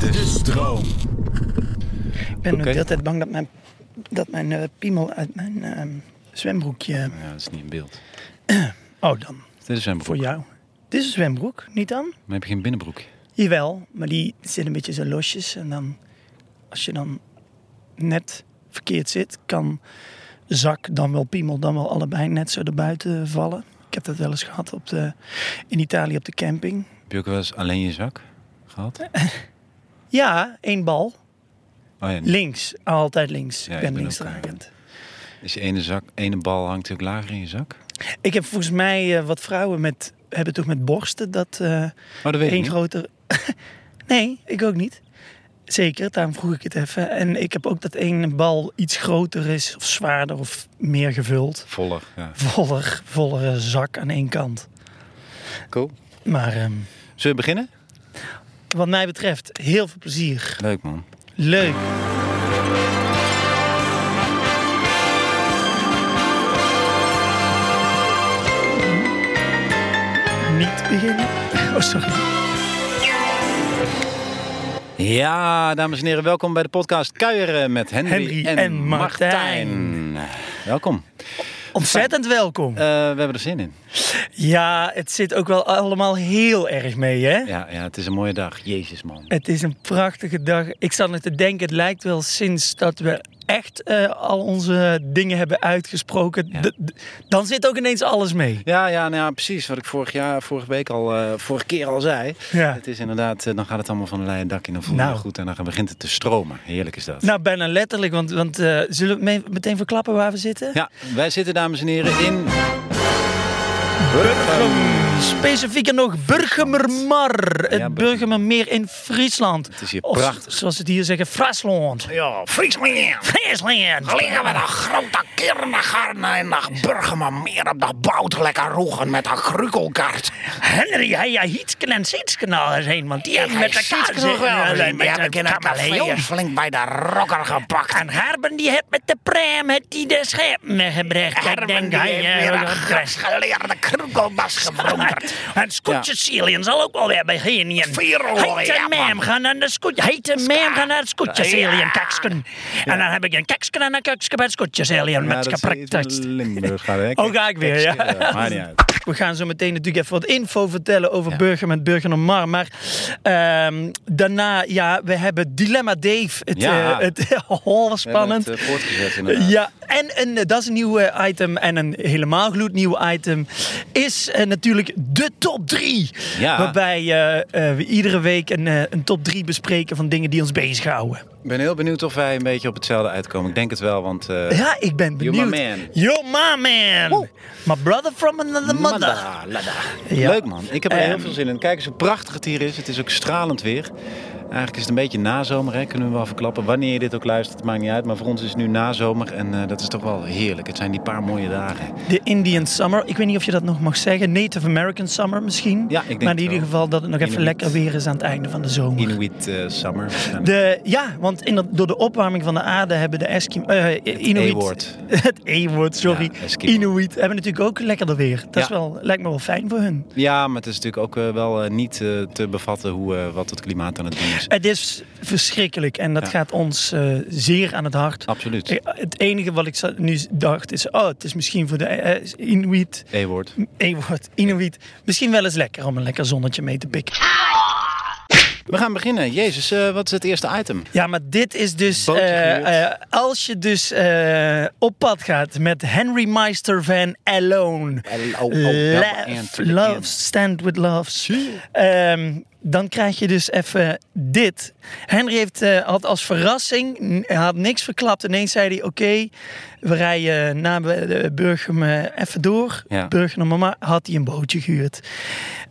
De stroom. Ik ben ook de hele tijd bang dat mijn, dat mijn eh, piemel uit mijn eh, zwembroekje... Ja, dat is niet in beeld. Oh, dan. Dit is een Voor broek. jou. Dit is een zwembroek, niet dan? Maar heb je geen binnenbroekje? Jawel, maar die zit een beetje zo losjes. En dan, als je dan net verkeerd zit, kan zak, dan wel piemel, dan wel allebei net zo erbuiten vallen. Ik heb dat wel eens gehad op de, in Italië op de camping. Heb je ook wel eens alleen je zak gehad? Oh Ja, één bal. ja, niet. Links, altijd links. Ja, ik ben, ik ben ook, eh, linksdragend. dus je ene, zak, ene bal hangt ook lager in je zak? Ik heb volgens mij eh, wat vrouwen met, hebben toch met borsten dat... eh, Oh, dat weet ik Eén niet. groter. nee, ik ook niet. Zeker, daarom vroeg ik het even. En ik heb ook dat één bal iets groter is, of zwaarder, of meer gevuld. Voller, ja. Voller, vollere zak aan één kant. Cool. Maar ehm, Zullen we beginnen? wat mij betreft, heel veel plezier. Leuk man. Leuk. Niet beginnen. Oh, sorry. Ja, dames en heren, welkom bij de podcast Kuieren met Henry, Henry en, en Martijn. Welkom. Ontzettend welkom. Eh, we hebben er zin in. Ja, het zit ook wel allemaal heel erg mee, hè? Ja, ja, het is een mooie dag. Jezus man. Het is een prachtige dag. Ik zat nog te denken, het lijkt wel sinds dat we echt eh, al onze dingen hebben uitgesproken. Ja. d- d- Dan zit ook ineens alles mee. Ja, ja, nou ja, precies. Wat ik vorig jaar, vorige week al, eh, vorige keer al zei. Ja. Het is inderdaad, eh, dan gaat het allemaal van een leien dak in. Dan voel je Nou. je goed en dan begint het te stromen. Heerlijk is dat. Nou, bijna letterlijk, want, want eh, zullen we me- meteen verklappen waar we zitten? Ja, wij zitten, dames en heren, in... Specifieker nog Burgemermar, het Burgemer. Burgemermeer in Friesland. Het is hier of, prachtig. Zoals ze het hier zeggen, Friesland. Ja, Friesland. Friesland. Liggen we de grote kernegarna en de burgerman meer op de bout lekker roegen met een grukelkaart. Henry, hij ja Hietsken en Sietsken al eens heen, want die hebben met de kaart nog wel zitten. gezien. Die heb Met ik in de een café kameleon. flink bij de rokker gepakt. En Herben die heeft met de prem, het die de schepen gebracht. Herman Ik denk, die hij heeft eh, weer een wat geleerde krukelbas gebronkerd. En Scootje Cillian zal ook wel weer beginnen. Vier hoor, Heet ja, en Mam man. gaan naar de Scootje. Heet en Mam gaan naar het Scootje Ja. Cillian kaksken. En dan heb ik een kaksken en een kaksken bij het Scootje Cillian. Met geprikt tekst. Limburg gaat hè? Oh, ga ik weer, ja. Eh, Maakt niet uit. We gaan zo meteen natuurlijk even wat info vertellen over Burger met Burger en Mar. Maar ehm, daarna, ja, we hebben Dilemma Dave. Het, Ja. eh, het, oh, wat We hebben spannend. Het, eh, voortgezet, inderdaad. Ja, en een, eh, dat is een nieuw eh, item. En een helemaal gloednieuw item is eh, natuurlijk de top 3. Ja. Waarbij eh, eh, we iedere week een, eh, een top 3 bespreken van dingen die ons bezighouden. Ik ben heel benieuwd of wij een beetje op hetzelfde uitkomen. Ik denk het wel, want... eh, Ja, ik ben You're benieuwd. my man. You're my man. My brother from another mother. Mada, lada. Ja. Leuk man, ik heb er Ehm. heel veel zin in. Kijk eens hoe prachtig het hier is. Het is ook stralend weer. Eigenlijk is het een beetje nazomer, hè? kunnen we wel verklappen. Wanneer je dit ook luistert, maakt niet uit. Maar voor ons is het nu nazomer en eh, dat is toch wel heerlijk. Het zijn die paar mooie dagen. De Indian Summer. Ik weet niet of je dat nog mag zeggen. Native American Summer misschien. Ja, ik denk Maar in het ieder wel. geval dat het nog even Inuit. lekker weer is aan het einde van de zomer. Inuit eh, summer. waarschijnlijk. De, ja, want in dat- door de opwarming van de aarde hebben de Eskimo... eh, Inuit, E-woord. Het E-woord, sorry. Ja, Eskimo. Inuit hebben natuurlijk ook lekkerder weer. Dat is Ja. wel, lijkt me wel fijn voor hun. Ja, maar het is natuurlijk ook eh, wel eh, niet eh, te bevatten hoe, eh, wat het klimaat aan het doen is. Het is verschrikkelijk en dat Ja. gaat ons eh, zeer aan het hart. Absoluut. Eh, Het enige wat ik zo- nu dacht is, oh, het is misschien voor de eh, Inuit, E-woord. E-woord, Inuit, misschien wel eens lekker om een lekker zonnetje mee te pikken. We gaan beginnen. Jezus, eh, wat is het eerste item? Ja, maar dit is dus. Bootje eh, gehuurd. eh, als je dus eh, op pad gaat met Henry Meister van Alone. Alone, Love, and the love, end. stand with love. Ehm, dan krijg je dus even dit. Henry heeft, eh, had als verrassing, n- hij had niks verklapt. Ineens zei hij, oké, we rijden na eh, Burgum eh, even door. Ja. Burgum, mama, had hij een bootje gehuurd.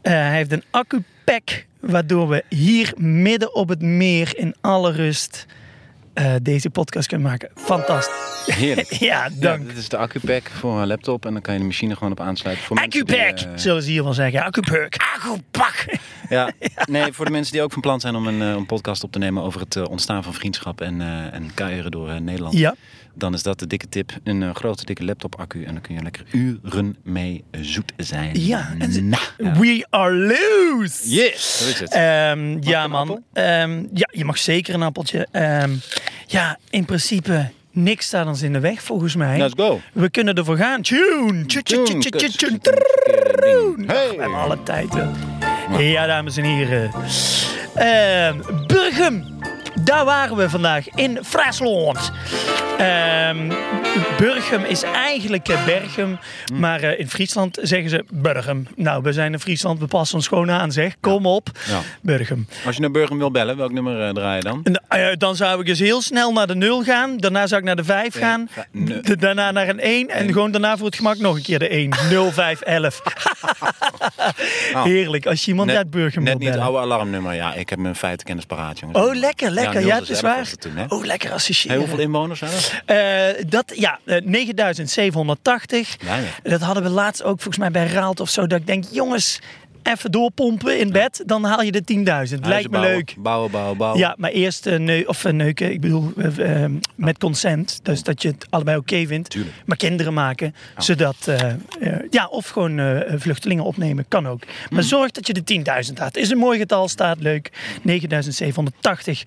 Eh, hij heeft een accupack, waardoor we hier midden op het meer in alle rust eh, deze podcast kunnen maken. Fantastisch. Heerlijk. Ja, Ja, dank. dit is de accupack voor mijn laptop en dan kan je de machine gewoon op aansluiten. Voor mensen die, Accupack, eh, zullen ze hier wel zeggen. Accupack. Agoepak. ja. Nee, voor de mensen die ook van plan zijn om een, eh, een podcast op te nemen over het eh, ontstaan van vriendschap en, eh en kuieren door eh, Nederland. Ja. Dan is dat de dikke tip. Een eh, grote dikke laptop accu en dan kun je lekker uren mee zoet zijn. Ja, en ze- Na. We are loose! Yes, zo is het. Ehm, ja, een man. appel? Ehm, ja, je mag zeker een appeltje. Ehm, ja, in principe, niks staat ons in de weg volgens mij. Let's go. We kunnen ervoor gaan. Tune! Tune, tune, tune, tune, tune, tune. Ach, we hebben Hey. alle tijd. hè. Ja, dames en heren. Ehm Burgum, daar waren we vandaag in Friesland. Ehm, Burgum is eigenlijk eh, Bergum, Hm. maar eh, in Friesland zeggen ze Burgum. Nou, we zijn in Friesland, we passen ons gewoon aan, zeg. Kom op, Ja. Burgum. Als je naar Burgum wil bellen, welk nummer eh, draai je dan? En, eh, dan zou ik dus heel snel naar de 0 gaan. Daarna zou ik naar de 5 gaan. ga- nee. d- daarna naar een 1. En gewoon daarna voor het gemak nog een keer de 1. 0, 5, 11. Heerlijk. Als je iemand uit Burgum Nou, net wil niet het bellen. oude alarmnummer. Ja, ik heb mijn feitenkennis paraat, jongens. Oh, lekker, lekker. Ja, 0 het is 11 waar. was het toen, hè? oh, lekker Hey, associëren. hoeveel inwoners zijn er? Eh, dat, ja, eh, 9780. Weinig. Dat hadden we laatst ook volgens mij bij Raalt of zo. Dat ik denk, jongens, even doorpompen in bed. Dan haal je de 10.000. Lijkt Huizen me bouwen, leuk. Bouwen, bouwen, bouwen. Ja, maar eerst eh, neu of, eh, neuken. Ik bedoel, eh, eh, met consent. Dus dat je het allebei oké vindt. Tuurlijk. Maar kinderen maken. Zodat, eh, eh, ja, of gewoon eh, vluchtelingen opnemen. Kan ook. Hmm. Maar zorg dat je de 10.000 haalt. Is een mooi getal, staat leuk. 9.780.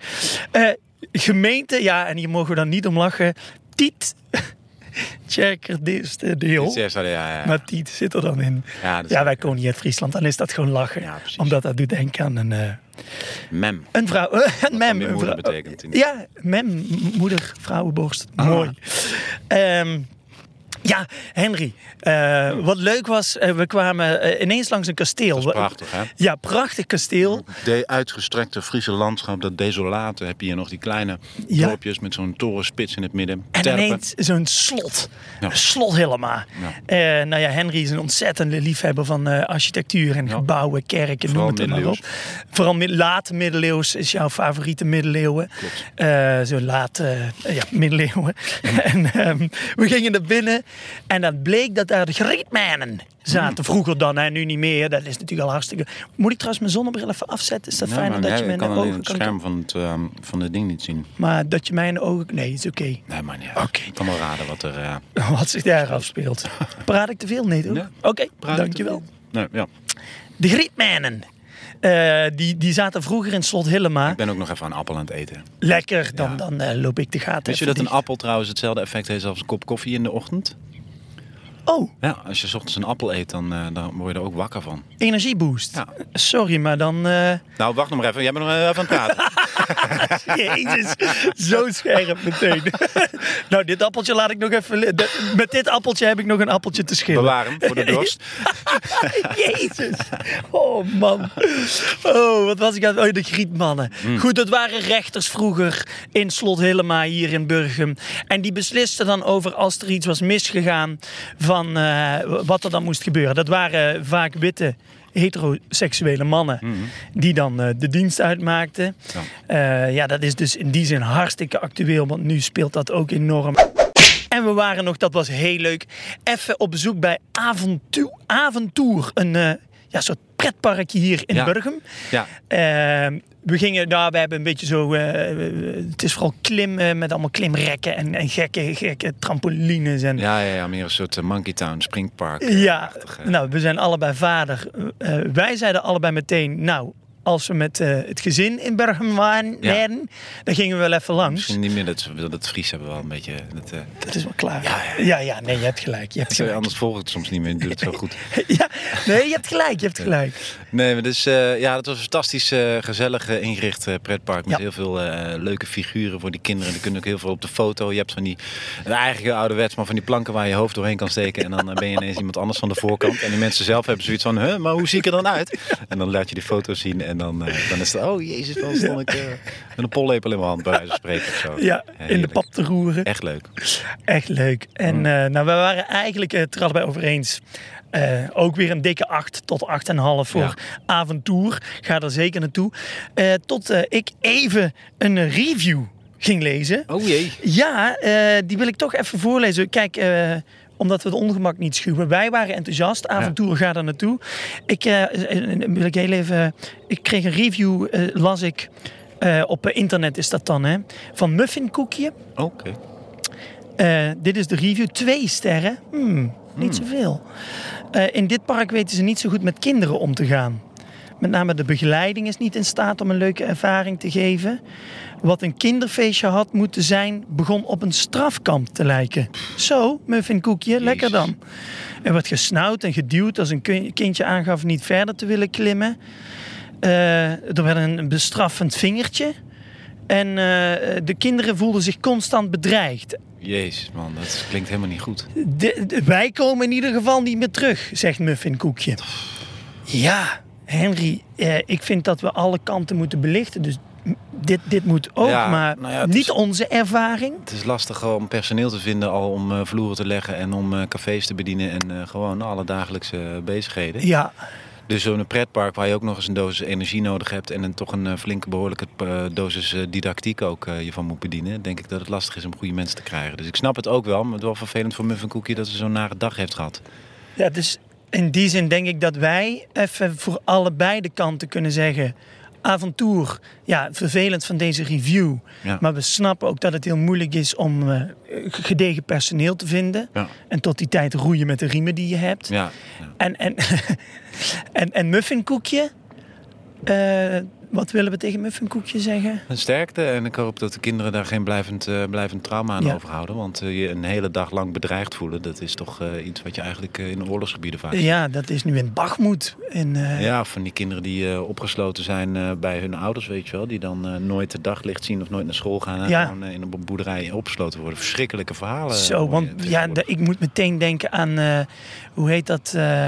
Eh, gemeente, ja, en hier mogen we dan niet om lachen. Tiet. Tjerkerdeel. Dit is- Ja, ja, ja. Maar Tiet zit er dan in. Ja, dat is Ja, wij lekker. komen niet uit Friesland. Dan is dat gewoon lachen. Ja, precies. Omdat dat doet denken aan een... eh, Mem. een vrouw. eh, Een dan mem. weer Een moeder vrouw. betekent in- Ah. Ja, mem. m- Moeder, vrouwenborst. Mooi. Ehm, ja, Henry. eh, wat leuk was, eh, we kwamen eh, ineens langs een kasteel. Dat is prachtig, hè? Ja, prachtig kasteel. De uitgestrekte Friese landschap, dat desolate, heb je hier nog die kleine Ja. dorpjes met zo'n torenspits in het midden. En Terpen. ineens zo'n slot. Ja. Een Slot helemaal. Eh, nou ja, Henry is een ontzettende liefhebber van eh, architectuur en gebouwen, kerken, Vooral noem het er maar op. Vooral mid- late middeleeuws is jouw favoriete middeleeuwen. Eh, zo laat, eh, ja, middeleeuwen. en ehm, we gingen er binnen en dat bleek dat daar de grietmanen zaten. Hmm. Vroeger dan, hè, nu niet meer. Dat is natuurlijk al hartstikke... Moet ik trouwens mijn zonnebril even afzetten? Is dat Ja, fijner maar dat nee, je ik mijn kan alleen ogen het kan... scherm van het, ehm, van het ding niet zien. Maar dat je mijn ogen... Nee, is oké. Nee, maar niet. Oké. Ik kan wel raden wat er... eh, Wat zich daar afspeelt. Praat ik te veel? Nee, toch? Nee. Oké, praat. dankjewel. Nee, ja. De Grietmanen. Eh, die, die zaten vroeger in slot Hillema. Ik ben ook nog even een appel aan het eten. Lekker, dan, dan eh, loop ik de gaten. Weet je even dat een dicht. appel trouwens hetzelfde effect heeft als een kop koffie in de ochtend? Oh, Ja, als je 's ochtends een appel eet, dan, eh, dan word je er ook wakker van. energieboost. Ja. Sorry, maar dan... eh, Nou, wacht nog maar even. Jij bent nog even aan het praten. Jezus, zo scherp meteen. nou, dit appeltje laat ik nog even... li- de- Met dit appeltje heb ik nog een appeltje te schillen. Bewaar hem voor de dorst. Jezus. Oh man. Oh, wat was ik aan Oh, de Grietmannen. Goed, dat waren rechters vroeger in Slot Hillema hier in Burgum. En die beslisten dan over als er iets was misgegaan van eh, wat er dan moest gebeuren. Dat waren vaak witte heteroseksuele mannen die dan eh, de dienst uitmaakten. Ja. ja, dat is dus in die zin hartstikke actueel, want nu speelt dat ook enorm. En we waren nog, dat was heel leuk, even op bezoek bij Aventu- Aventour. Een eh, ja, soort pretparkje hier in Ja. Burgum. Ja. Ehm, we gingen daar, we hebben een beetje zo... eh, het is vooral klimmen met allemaal klimrekken en, en gekke, gekke trampolines. En, Ja, ja, ja, meer een soort eh, Monkey Town, Springpark. eh, ja, achtig, eh. nou, we zijn allebei vader. Eh, wij zeiden allebei meteen, nou, als we met eh, het gezin in Bergen waren, Ja. werden, dan gingen we wel even langs. Misschien niet meer dat, dat Fries hebben we wel een beetje. Dat, eh, Dat is wel klaar. Ja, ja. ja, nee, je hebt gelijk. Je hebt sorry, gelijk. anders volgt het soms niet meer. Doet het zo goed. Ja, nee, je hebt gelijk. Je hebt gelijk. Nee, maar dus, eh, ja, dat was een fantastisch eh, gezellig eh, ingericht eh, pretpark. Met Ja. heel veel eh, leuke figuren voor die kinderen. Er kunnen ook heel veel op de foto. Je hebt van die, en eigenlijk ouderwets, maar van die planken waar je hoofd doorheen kan steken. En dan eh, ben je ineens iemand anders van de voorkant. En die mensen zelf hebben zoiets van, huh, maar hoe zie ik er dan uit? En dan laat je die foto's zien en dan, eh, dan is het, oh jezus, dan stond ik eh, met een pollepel in mijn hand bij wijze van spreken. Of zo. Ja, in de heerlijk. pap te roeren. Echt leuk. Echt leuk. En eh, nou, we waren eigenlijk eh, het er allebei over eens. Eh, ook weer een dikke 8 tot 8,5 voor Ja. avontuur. Ga er zeker naartoe. Eh, tot eh, ik even een eh, review ging lezen. Oh jee. Ja, eh, die wil ik toch even voorlezen. Kijk, eh, omdat we het ongemak niet schuwen. Wij waren enthousiast. Avontuur ga daar naartoe. Ik eh, eh, wil ik heel even. Ik kreeg een review, eh, las ik. eh, op eh, internet is dat dan, hè? Van muffinkoekje. Oh, Oké. Eh, dit is de review. Twee sterren. Hmm, niet zoveel. Eh, in dit park weten ze niet zo goed met kinderen om te gaan. Met name de begeleiding is niet in staat om een leuke ervaring te geven. Wat een kinderfeestje had moeten zijn, begon op een strafkamp te lijken. Zo, muffinkoekje, lekker dan. Er werd gesnauwd en geduwd als een kun- kindje aangaf niet verder te willen klimmen. Eh, er werd een bestraffend vingertje. En eh, de kinderen voelden zich constant bedreigd. Jezus man, dat klinkt helemaal niet goed. De- de- wij komen in ieder geval niet meer terug, zegt Muffin Koekje. Ja, Henry, eh, ik vind dat we alle kanten moeten belichten. Dus m- dit, dit moet ook, Ja, maar nou ja, het niet is- onze ervaring. Het is lastig om personeel te vinden, al om eh, vloeren te leggen en om eh, cafés te bedienen en eh, gewoon alle dagelijkse bezigheden. Ja, Dus zo'n pretpark waar je ook nog eens een dosis energie nodig hebt en een, toch een eh, flinke behoorlijke eh, dosis eh, didactiek ook eh, je van moet bedienen, denk ik dat het lastig is om goede mensen te krijgen. Dus ik snap het ook wel, maar het is wel vervelend voor Muffin Cookie dat ze zo'n nare dag heeft gehad. ja, dus in die zin denk ik dat wij even voor allebei de kanten kunnen zeggen... Avontuur, ja, vervelend van deze review. Ja. Maar we snappen ook dat het heel moeilijk is om eh, gedegen personeel te vinden. Ja. En tot die tijd roeien met de riemen die je hebt. Ja, ja. En, en, en, en muffinkoekje. Eh, wat willen we tegen muffinkoekje zeggen? Een sterkte en ik hoop dat de kinderen daar geen blijvend, eh, blijvend trauma aan Ja. overhouden, want eh, je een hele dag lang bedreigd voelen, dat is toch eh, iets wat je eigenlijk eh, in oorlogsgebieden vaak Ja, dat is nu in Bachmoed. In, eh, Ja, van die kinderen die eh, opgesloten zijn eh, bij hun ouders, weet je wel. Die dan eh, nooit het daglicht zien of nooit naar school gaan. En Ja. gewoon eh, in een boerderij opgesloten worden. Verschrikkelijke verhalen. hoor Zo, je want ja, tegenwoordig. de- ik moet meteen denken aan, eh, hoe heet dat, eh,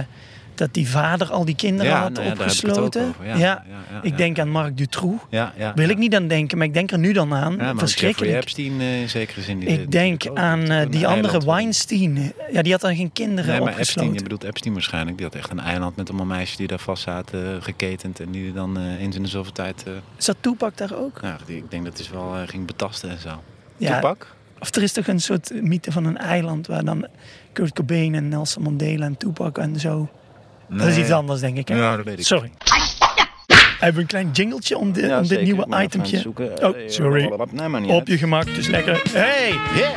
dat die vader al die kinderen Ja, had nou ja, daar heb ik het ook opgesloten. over. Ja, ja, ja, ik ja. denk aan Marc Dutroux. Ja, ja, Wil ja. ik niet aan denken, maar ik denk er nu dan aan. Ja, maar Jeffrey Verschrikkelijk. Epstein eh, in zekere zin. Die die- Ik denk die- aan eh, een die andere eiland. Weinstein. Ja, die had dan geen kinderen Nee, maar Epstein, opgesloten. je bedoelt Epstein waarschijnlijk. Die had echt een eiland met allemaal meisjes die daar vast zaten, eh, geketend. En die dan eh, eens in de zoveel tijd... eh, Zat Toepak daar ook? nou, die, ik denk dat hij ze wel eh, ging betasten en zo. Ja. Toepak? Of er is toch een soort mythe van een eiland waar dan Kurt Cobain en Nelson Mandela en Tupac en zo. Dat is Nee. iets anders, denk ik. Hè? Ja, dat weet ik. Sorry. Hebben we een klein jingletje om, de, Ja, om dit zeker. Ik ben nieuwe even aan het itempje? zoeken. Oh, Eh, sorry. Nee, maar niet Op uit. je gemak, dus lekker. Hey, Yeah.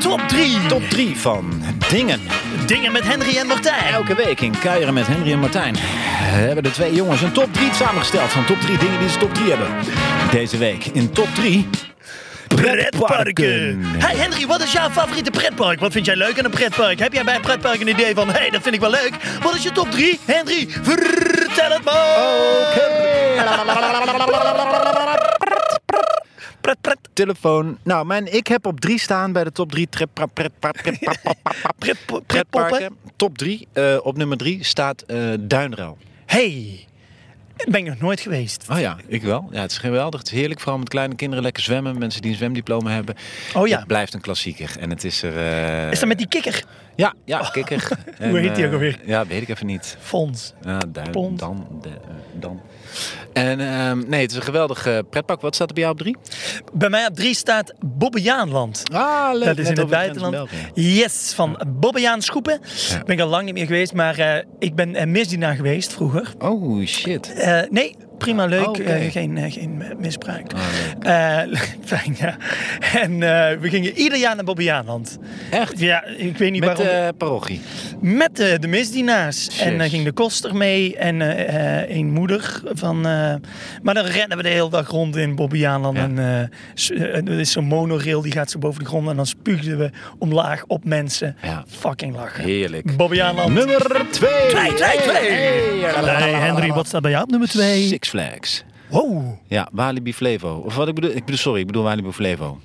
Top 3. Top 3 van Dingen. dingen met Henry en Martijn. Elke week in Kuieren met Henry en Martijn hebben de twee jongens een top 3 samengesteld van top 3 dingen die ze top 3 hebben. Deze week in top 3 Pretparken. Hey Henry, wat is jouw favoriete pretpark? Wat vind jij leuk aan een pretpark? Heb jij bij een pretpark een idee van, hey, dat vind ik wel leuk? Wat is je top 3? Henry, vertel het maar. Pret, pret, Telefoon. Nou, mijn, ik heb op 3 staan bij de top 3 pret, pret, pretpoppen. pretparken. Top 3. Eh, op nummer 3 staat eh Duinruil. Hey, daar ben ik nog nooit geweest. Oh ja, ik wel. Ja, het is geweldig. Het is heerlijk, vooral met kleine kinderen. Lekker zwemmen. Mensen die een zwemdiploma hebben. Oh ja. Het blijft een klassieker. En het is er... eh, Is dat met die kikker? Ja, ja, kikker. Hoe heet die eh, ook alweer? Ja, weet ik even niet. Fons. Ja, duim, Pond. dan, de- eh, dan. En ehm, nee, het is een geweldig eh, pretpark. Wat staat er bij jou op drie? Bij mij op drie staat Bobbejaanland. Ah, leuk. Dat is in het buitenland. Yes, van Bobbejaan Schoepen. Ben ik al lang niet meer geweest, maar eh, ik ben eh, misdienaar geweest vroeger. Oh, shit. Eh, nee, prima leuk. Oh, Oké. eh, geen, eh, geen eh, misbruik. Ah, leuk. Eh, fijn, ja. En eh, we gingen ieder jaar naar Bobbejaanland. Echt? Ja, ik weet niet Met waarom. eh, parochie. Met eh, de misdienaars. En dan Jezus. ging de koster mee en eh, eh, een moeder. Van, eh, maar dan rennen we de hele dag rond in Bobbejaanland. Ja. En eh, s- eh, er is zo'n monorail, die gaat zo boven de grond. En dan spuugden we omlaag op mensen. Ja. Fucking lachen. Heerlijk. Bobbejaanland. Nummer 2. Twee, twee, twee. Hey, Henry, wat staat bij jou op nummer 2? Six Flags. Wow. Ja, Walibi Flevo. Of wat ik bedoel, ik bedoel, sorry, ik bedoel Walibi Flevo.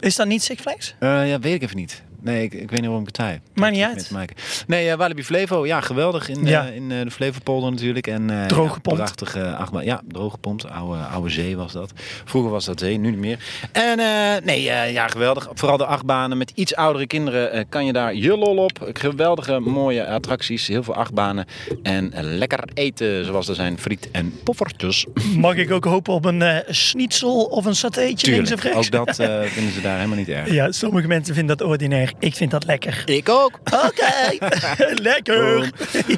Is dat niet Six Flags? Eh, ja, weet ik even niet. Nee, ik, ik weet niet waarom ik het zei. Maakt niet Heeft uit. mee te maken. Nee, eh, Walibi Flevo, ja, geweldig in, Ja. eh, in eh, de Flevopolder natuurlijk. En, eh, Droog ja, gepompt. Prachtige achtbaan. Ja, droog gepompt. Oude, oude zee was dat. Vroeger was dat zee, nu niet meer. En eh, nee, eh, ja, geweldig. Vooral de achtbanen met iets oudere kinderen eh, kan je daar je lol op. Geweldige, mooie attracties. Heel veel achtbanen. En eh, lekker eten, zoals er zijn friet en poffertjes. Mag ik ook hopen op een eh schnitzel of een satéetje links of Tuurlijk, rechts? ook dat eh, vinden ze daar helemaal niet erg. Ja, sommige mensen vinden dat ordinair. Ik vind dat lekker. Ik ook. Oké, lekker.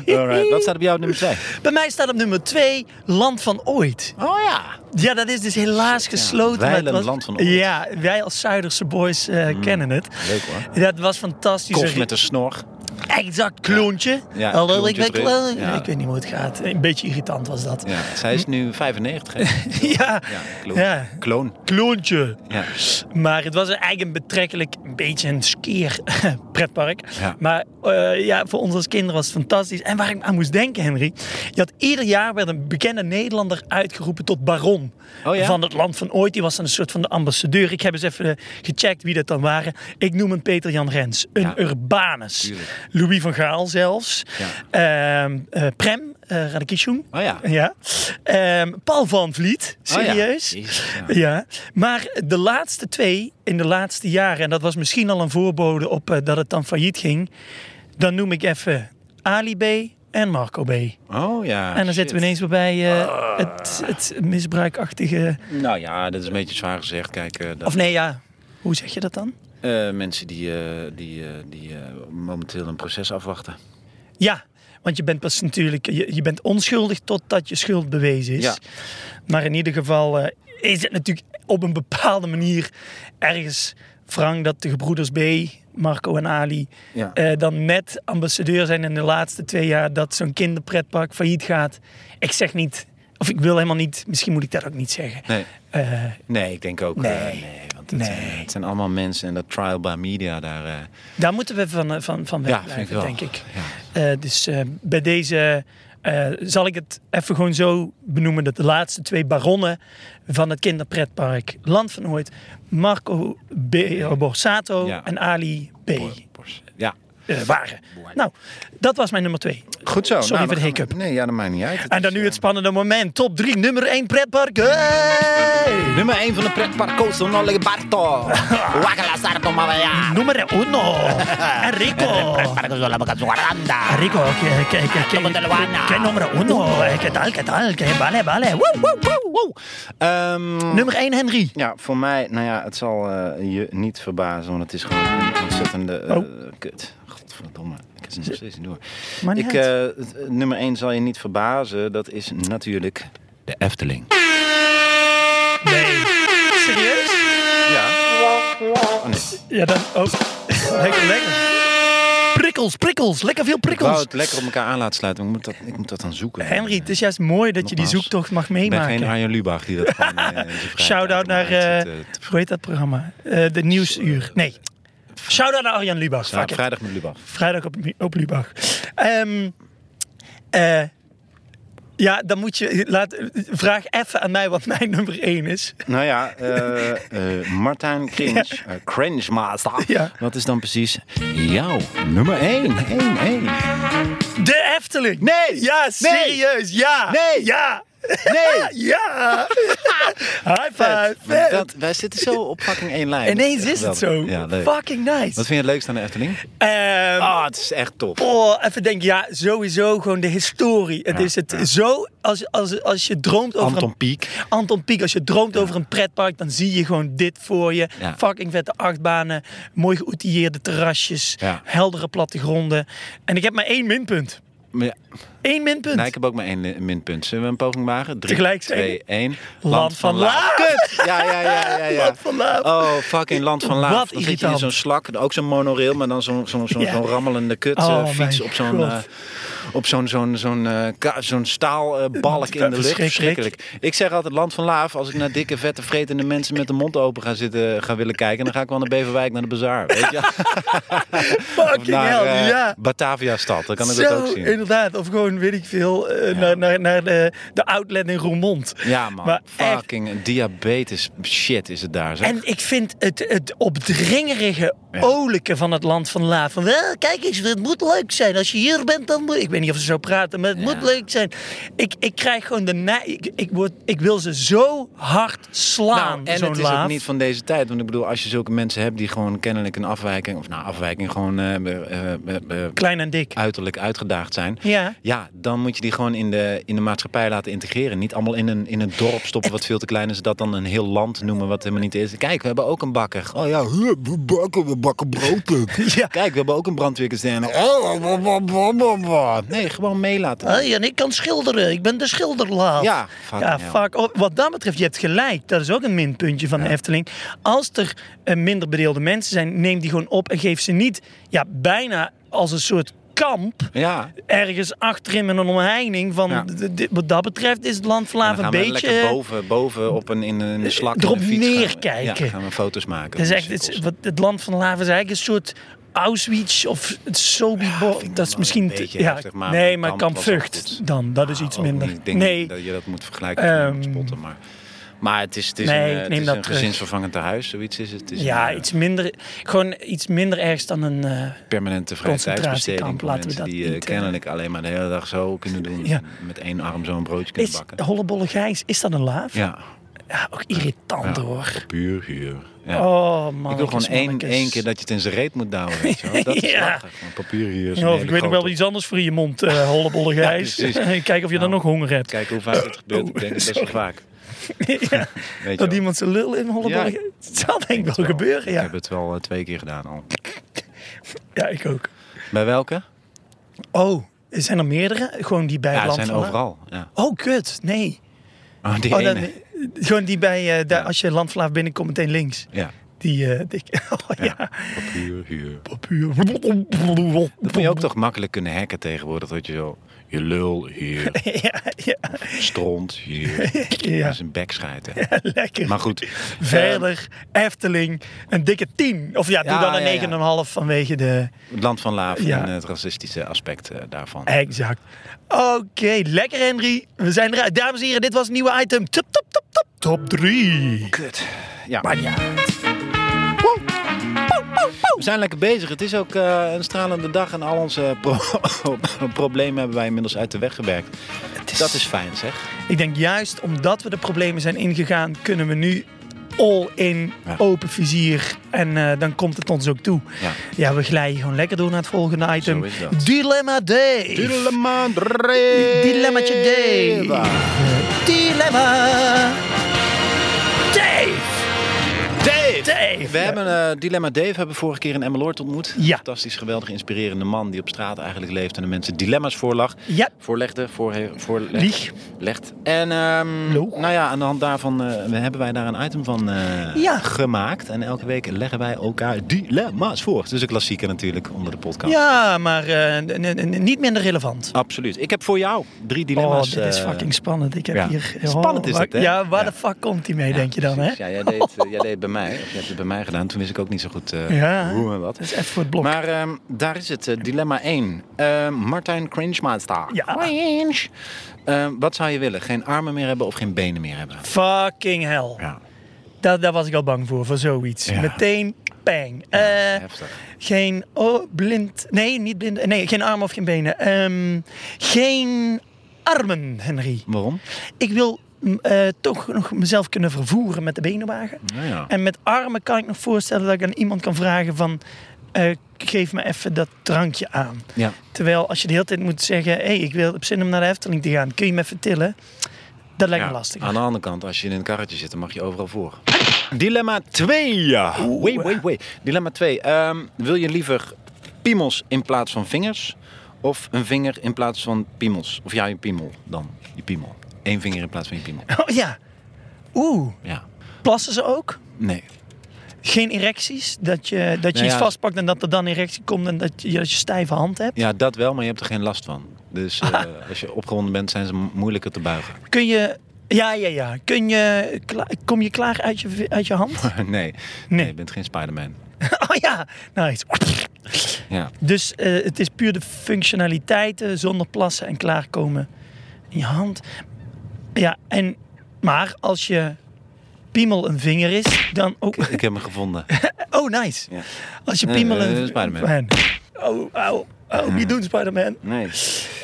Alright, wat staat op jouw nummer 2? Bij mij staat op nummer 2 Land van Ooit. Oh ja. Ja, dat is dus helaas gesloten. maar het Weiland was- Land van Ooit. Hmm, Ja, wij als Zuiderse boys eh, kennen het. Leuk hoor. Dat was fantastisch. Kost met een snor. Exact, kloontje. Ja, Hallo, kloontje ik ben terug. kloon. Ja. Ik weet niet hoe het gaat. Een beetje irritant was dat. Ja, zij is nu 95. hè? Ja, Ja, kloon. Ja. Kloon. kloontje. Ja. Maar het was eigenlijk een betrekkelijk een beetje een skeer pretpark. Ja. Maar eh, ja, voor ons als kinderen was het fantastisch. En waar ik aan moest denken, Henry. Je had ieder jaar werd een bekende Nederlander uitgeroepen tot baron. Oh ja? Van het land van ooit. Die was dan een soort van de ambassadeur. Ik heb eens even eh, gecheckt wie dat dan waren. Ik noem hem Peter Jan Rens. Een Ja. Urbanus. Tuurlijk. Louis van Gaal zelfs. Ehm, eh, Prem eh Radakishun. Oh ja. Ja. Ehm, Paul van Vliet. Oh ja. Serieus. Jezus, ja. Ja, maar de laatste twee in de laatste jaren, en dat was misschien al een voorbode op eh, dat het dan failliet ging, dan noem ik even Ali B en Marco B. Oh ja. en dan zitten we ineens weer bij Ah. eh, het, het misbruikachtige. Nou ja, dat is een beetje zwaar gezegd. Kijk, eh, dat, Of nee, ja. Hoe zeg je dat dan? eh, mensen die, eh, die, eh, die eh, momenteel een proces afwachten. Ja, want je bent pas natuurlijk, je, je bent onschuldig totdat je schuld bewezen is. Ja. Maar in ieder geval eh, is het natuurlijk op een bepaalde manier ergens wrang dat de gebroeders B, Marco en Ali, Ja. eh, dan net ambassadeur zijn in de laatste twee jaar dat zo'n kinderpretpark failliet gaat. Ik zeg niet, of ik wil helemaal niet, misschien moet ik dat ook niet zeggen. Nee. Eh, Nee, ik denk ook. eh, Nee. nee want het, Nee. Zijn, het zijn allemaal mensen en dat trial by media daar. eh, daar moeten we van, eh, van, van ja, weg vind ik blijven, wel. denk ik. Ja. Eh, dus eh, bij deze eh, zal ik het even gewoon zo benoemen dat de laatste twee baronnen van het kinderpretpark Land van Ooit, Marco B. eh, Borsato Ja. en Ali B. Bors. Ja. eh, waren. Nou, dat was mijn nummer twee. Goed zo. Sorry nou, voor de dan gaan we- hiccup. Nee, ja, dat maakt niet uit. Het En dan is, nu eh, het spannende moment. Top 3, nummer 1 pretpark. Hey! eh, Nummer 1 van de pretpark Coastal Nolle Barto. Guácala, sarto, mamaya. Nummer 1. Enrico. Para que yo la boca su aranda. Rico, que, que, que, que, Nummer uno. que nummer 1. Que tal, que tal. Que vale, vale. Woe, woe, woe, woe. Ehm, Nummer 1, Henry. Ja, voor mij, nou ja, het zal eh, je niet verbazen, want het is gewoon een ontzettende eh, Oh. kut. Godverdomme, ik heb het nog steeds niet door. Maar niet Ik, eh, het, eh, nummer 1 zal je niet verbazen, dat is natuurlijk de Efteling. Nee. Serieus? Ja. Oh, nee. Ja, dan ook. lekker, lekker. Prikkels, prikkels. Lekker veel Ik wou prikkels. het lekker op elkaar aan laten sluiten, maar ik moet dat, ik moet dat dan zoeken. Henry, het is juist mooi dat je die Nogmaals, zoektocht mag Ik ben geen meemaken. Arjen Lubach die dat gewoon... eh, in zijn vrije Shout-out tijd naar... eh, allemaal uitzet, eh, te- hoe heet dat programma? Eh, de Nieuwsuur. Nee. Shout-out naar Arjan Lubach. Ja, Fuck it. vrijdag met Lubach. Vrijdag op, op Lubach. Ehm, eh, ja, dan moet je... Laat, vraag even aan mij wat mijn nummer 1 is. Nou ja, eh, eh, Martijn Cringe, eh, Cringe Master. Ja. Wat is dan precies jouw nummer 1? 1, 1. De Efteling. Nee. Ja, Nee. serieus. Ja. Nee. Ja. Nee! Ja! High five! Maar Dat, wij zitten zo op fucking één lijn. Ineens Echt is het zo. geweldig. Ja, leuk. Fucking Wat vind nice. je het leukst aan de Efteling? Ehm, Ah, het is echt top. oh, even denken, ja, sowieso gewoon de historie. Het Ja, is het zo, als, als, als je droomt over Anton een... Pieck. Anton Pieck, als je droomt over een pretpark, dan zie je gewoon dit voor je. Ja. Fucking vette achtbanen, mooi geoutilleerde terrasjes, Ja. heldere plattegronden. En ik heb maar één minpunt. Maar ja, Eén minpunt. nou, ik heb ook maar één eh, minpunt. Zullen we een poging maken? Drie, Tegelijk zeggen? twee, één. Land van Laaf. Kut! Ja, ja, ja, ja, ja. Land van Laaf. Oh, fucking Land van Laaf. Wat dan zit je in irritant. zo'n slak, ook zo'n monorail, maar dan zo'n zo'n zo'n Ja. zo'n rammelende kut eh, Oh, fiets mijn op zo'n God. eh, op zo'n zo'n zo'n eh, ka- zo'n staalbalk in de lucht. Verschrikkelijk. Verschrikkelijk. Ik zeg altijd Land van Laaf, als ik naar dikke, vette, vretende mensen met de mond open ga zitten, eh, ga willen kijken, dan ga ik wel naar Beverwijk, naar de bazaar. Weet je? Of Fucking naar hell, eh, ja. Batavia-stad, dan kan ik Zo, dat ook zien. inderdaad. Of gewoon, weet ik veel, eh, naar, naar, naar de, de outlet in Roermond. Ja, man. Maar echt- Fucking diabetes shit is het daar. Zeg. En ik vind het, het opdringerige Ja. olijke van het land van Laaf. Van, "Wel, kijk eens, het moet leuk zijn. Als je hier bent, dan moet... Ik weet niet of ze zo praten, maar het moet leuk zijn. Ik, ik krijg gewoon de... na- Ik, ik, word, ik wil ze zo hard slaan, Nou, en zo'n het is Laaf. ook niet van deze tijd. Want ik bedoel, als je zulke mensen hebt die gewoon kennelijk een afwijking... of nou, afwijking gewoon eh, eh, eh, eh, Klein en dik. uiterlijk uitgedaagd zijn... Ja. Ja, dan moet je die gewoon in de, in de maatschappij laten integreren. Niet allemaal in een, in een dorp stoppen wat veel te klein is. Dat dan een heel land noemen wat helemaal niet is. Kijk, we hebben ook een bakker. Oh ja, huh, we bakken, we bakken brood. Ja. Kijk, we hebben ook een brandweerkazerne. Oh, wa, wa, wa, wa, wa. Nee, gewoon mee laten. Hé, en ik kan schilderen. Ik ben de schilderlaaf. Ja, fuck ja, hell. fuck. Oh, Wat dat betreft, je hebt gelijk. Dat is ook een minpuntje van de Efteling. Als er eh, minder bedeelde mensen zijn, neem die gewoon op en geef ze niet ja, bijna als een soort kamp Ja. ergens achterin met een omheining van Ja. d- d- wat dat betreft is het land En Vlaaf dan een gaan we beetje eh, lekker boven, boven op een, in een slak in erop een fiets gaan we- neerkijken. Ja, gaan we foto's het, maken. is van echt, het, is- cirkels. wat, het land van Laaf is eigenlijk een soort Auschwitz of het Sobibor. vind ik dat is wel misschien een te- beetje ja, heftig, maar nee, Kamp maar was kamp ook Vught goed. dan dat is iets Ook minder. niet. Oh, Ik denk nee, niet dat je dat moet vergelijken met Ehm, spotten. Maar, maar het is, het is nee, een, ik eh, het neem is dat een terug. gezinsvervangend tehuis. Zoiets is het. Het is ja, een, eh, iets minder, gewoon iets minder ergs dan een. eh, permanente vrije tijdsbesteding. concentratiekamp, Voor laten we mensen dat die eh, niet, eh, kennelijk alleen maar de hele dag zo kunnen doen. Ja. en Met één arm zo'n broodje kunnen is bakken. Hollebolle Gijs, is dat een laaf? Ja, Ja, ook irritant hoor. puur huur. Ja. Oh man. ik wil gewoon één, één keer dat je het in zijn reet moet douwen. Weet je wel. Dat is Ja. lastig. want Papier hier Ja, is een of hele Oh, ik weet nog wel grote. iets anders voor in je mond, eh Hollebolle Gijs. precies. Nou. Kijk of je dan nog honger hebt. Kijk hoe vaak het gebeurt. Ik denk het best wel vaak. Oh, Ja, Weet je dat wel. iemand zijn lul in Hollebolle Ja, Gijs. Het zal denk ik wel gebeuren, Ik ja. heb het wel eh, twee keer gedaan al. Ja, ik ook. Bij welke? Oh, zijn er meerdere? Gewoon die bij Ja, het het land zijn van Laaf? overal. Ja. Oh, kut, nee. Oh, die Oh, ene. dan, gewoon die bij, eh, daar, Ja. als je landvlaaf binnenkomt, meteen links. Ja. Die, eh, dik- oh ja. Papier hier. Papier. Dat moet je ook toch makkelijk kunnen hacken tegenwoordig. Dat je zo, je lul hier, Ja, ja, stront hier. ja. Dat is een bek schijten. lekker. Maar goed. Verder, Efteling, een dikke 10. Of ja, doe Ja, dan een ja, 9,5 vanwege de... eh, het land van Laaf Ja. en het racistische aspect eh, daarvan. Exact. Oké, lekker Henry. We zijn eruit. Dames en heren, dit was het nieuwe item. Top, top, top, top. Top 3. Kut. Ja. Maar ja. We zijn lekker bezig. Het is ook eh, een stralende dag en al onze pro- problemen hebben wij inmiddels uit de weg gewerkt. Dat is fijn zeg. Ik denk juist omdat we de problemen zijn ingegaan, kunnen we nu all in, Ja. open vizier. En eh, dan komt het ons ook toe. Ja. we glijden gewoon lekker door naar het volgende item. is dat. Dilemma Dave. Dilemma Dilemmaatje Dave. Dilemma Dave. Dave! Dave. We hebben eh, Dilemma Dave hebben we vorige keer in Emmeloord ontmoet. Ja. Fantastisch, geweldig, inspirerende man die op straat eigenlijk leeft en de mensen dilemma's voorlag. Ja. Voorlegde, voorhe- voorleg- Lieg. Legt. En ehm, Loog. nou ja, aan de hand daarvan eh, we hebben wij daar een item van eh, Ja. gemaakt. En elke week leggen wij elkaar dilemma's voor. Het is een klassieker natuurlijk onder de podcast. Ja, maar eh, n- n- n- niet minder relevant. Absoluut. Ik heb voor jou drie Oh, dilemma's. dit is eh, fucking spannend. Ik heb ja. hier... Spannend is waar- het, hè? Ja, waar Ja. de fuck komt die mee, ja, denk je dan, precies. hè? Ja, jij deed, eh, jij deed het bij mij. Of jij hebt het bij mij gedaan. Toen wist ik ook niet zo goed eh, Ja. hoe en wat. Dat is even voor het blok. Maar ehm, daar is het, eh, dilemma 1. Martijn Cringemeister. Ja. Cringe. Ehm, wat zou je willen? Geen armen meer hebben of geen benen meer hebben? Fucking hell. Ja, Daar, daar was ik al bang voor, voor zoiets. Ja. Meteen pang. Eh, heftig. geen oh, blind. Nee, niet blind. Nee, geen armen of geen benen. Ehm, geen armen, Henry. Waarom? Ik wil m, eh, toch nog mezelf kunnen vervoeren met de benenwagen. Nou ja. En met armen kan ik nog voorstellen dat ik aan iemand kan vragen van... eh, geef me even dat drankje aan. ja. Terwijl als je de hele tijd moet zeggen... hé, hey, ik wil op zin om naar de Efteling te gaan. Kun je me even tillen? Dat lijkt me Ja. lastig. Aan de andere kant, als je in een karretje zit, dan mag je overal voor. Dilemma 2. Wait, wait, wait. Dilemma 2. Ehm, wil je liever piemels in plaats van vingers? Of een vinger in plaats van piemels. Of ja, je piemel dan. Je piemel. Eén vinger in plaats van je piemel. Oh ja. Oeh. Ja. Plassen ze ook? Nee. Geen erecties? Dat je, dat je Nou iets ja. vastpakt en dat er dan erectie komt en dat je, dat je stijve hand hebt? Ja, dat wel, maar je hebt er geen last van. Dus eh, als je opgewonden bent, zijn ze mo- moeilijker te buigen. Kun je... Ja, ja, ja. Kun je, kla- kom je klaar uit je, uit je hand? nee. nee. Nee. je bent geen Spider-Man. oh ja. Nice. Ja. Dus eh, het is puur de functionaliteiten zonder plassen en klaarkomen in je hand. Ja, en... Maar als je piemel een vinger is, dan ook... Ik heb hem gevonden. Oh, nice. Ja. Als je Eh, piemel een... eh, Spider-Man. Oh, au. Oh, niet doen, Spider-Man. Nee.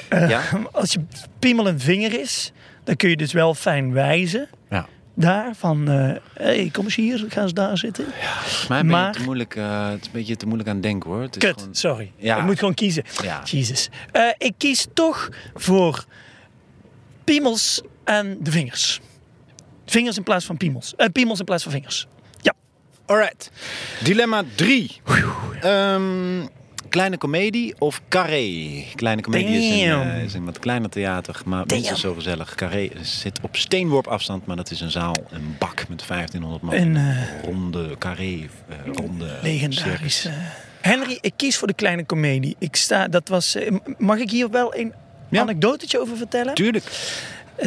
Eh, Ja? Als je piemel een vinger is, dan kun je dus wel fijn wijzen Ja. daar. Van, eh hey, kom eens hier, ga eens daar zitten. Volgens mij ben je Maar- te moeilijk, eh, het is een beetje te moeilijk aan het denken hoor. Het is Kut, gewoon- sorry. Ja. Ik moet gewoon kiezen. Ja. Jezus. Eh, ik kies toch voor piemels en de vingers. Vingers in plaats van piemels. Eh, piemels in plaats van vingers. Ja. Alright. Dilemma 3. Ehm, kleine komedie of carré? Kleine komedie is een, Damn. eh, is een wat kleiner theater, maar minstens zo gezellig. Carré zit op steenworp afstand, maar dat is een zaal, een bak met 1500 man. En eh ronde carré, eh, ronde legendarisch. circus. eh. Henry, ik kies voor de kleine komedie. Ik sta, dat was, eh, mag ik hier wel een Ja. anekdotetje over vertellen? Tuurlijk.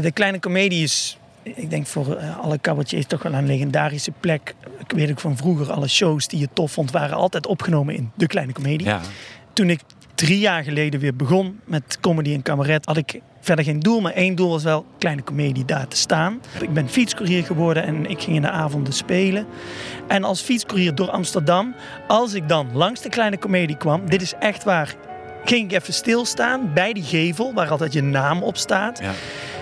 De Kleine Comedie is, ik denk voor eh, alle cabaretiers toch wel een legendarische plek. Ik weet ook van vroeger, alle shows die je tof vond, waren altijd opgenomen in De Kleine Comedie. Ja. Toen ik drie jaar geleden weer begon met comedy en cabaret, had ik verder geen doel. Maar één doel was wel Kleine Comedie daar te staan. Ik ben fietscourier geworden en ik ging in de avonden spelen. En als fietscourier door Amsterdam, als ik dan langs de Kleine Comedie kwam, dit is echt waar... Ging ik even stilstaan bij die gevel waar altijd je naam op staat ja.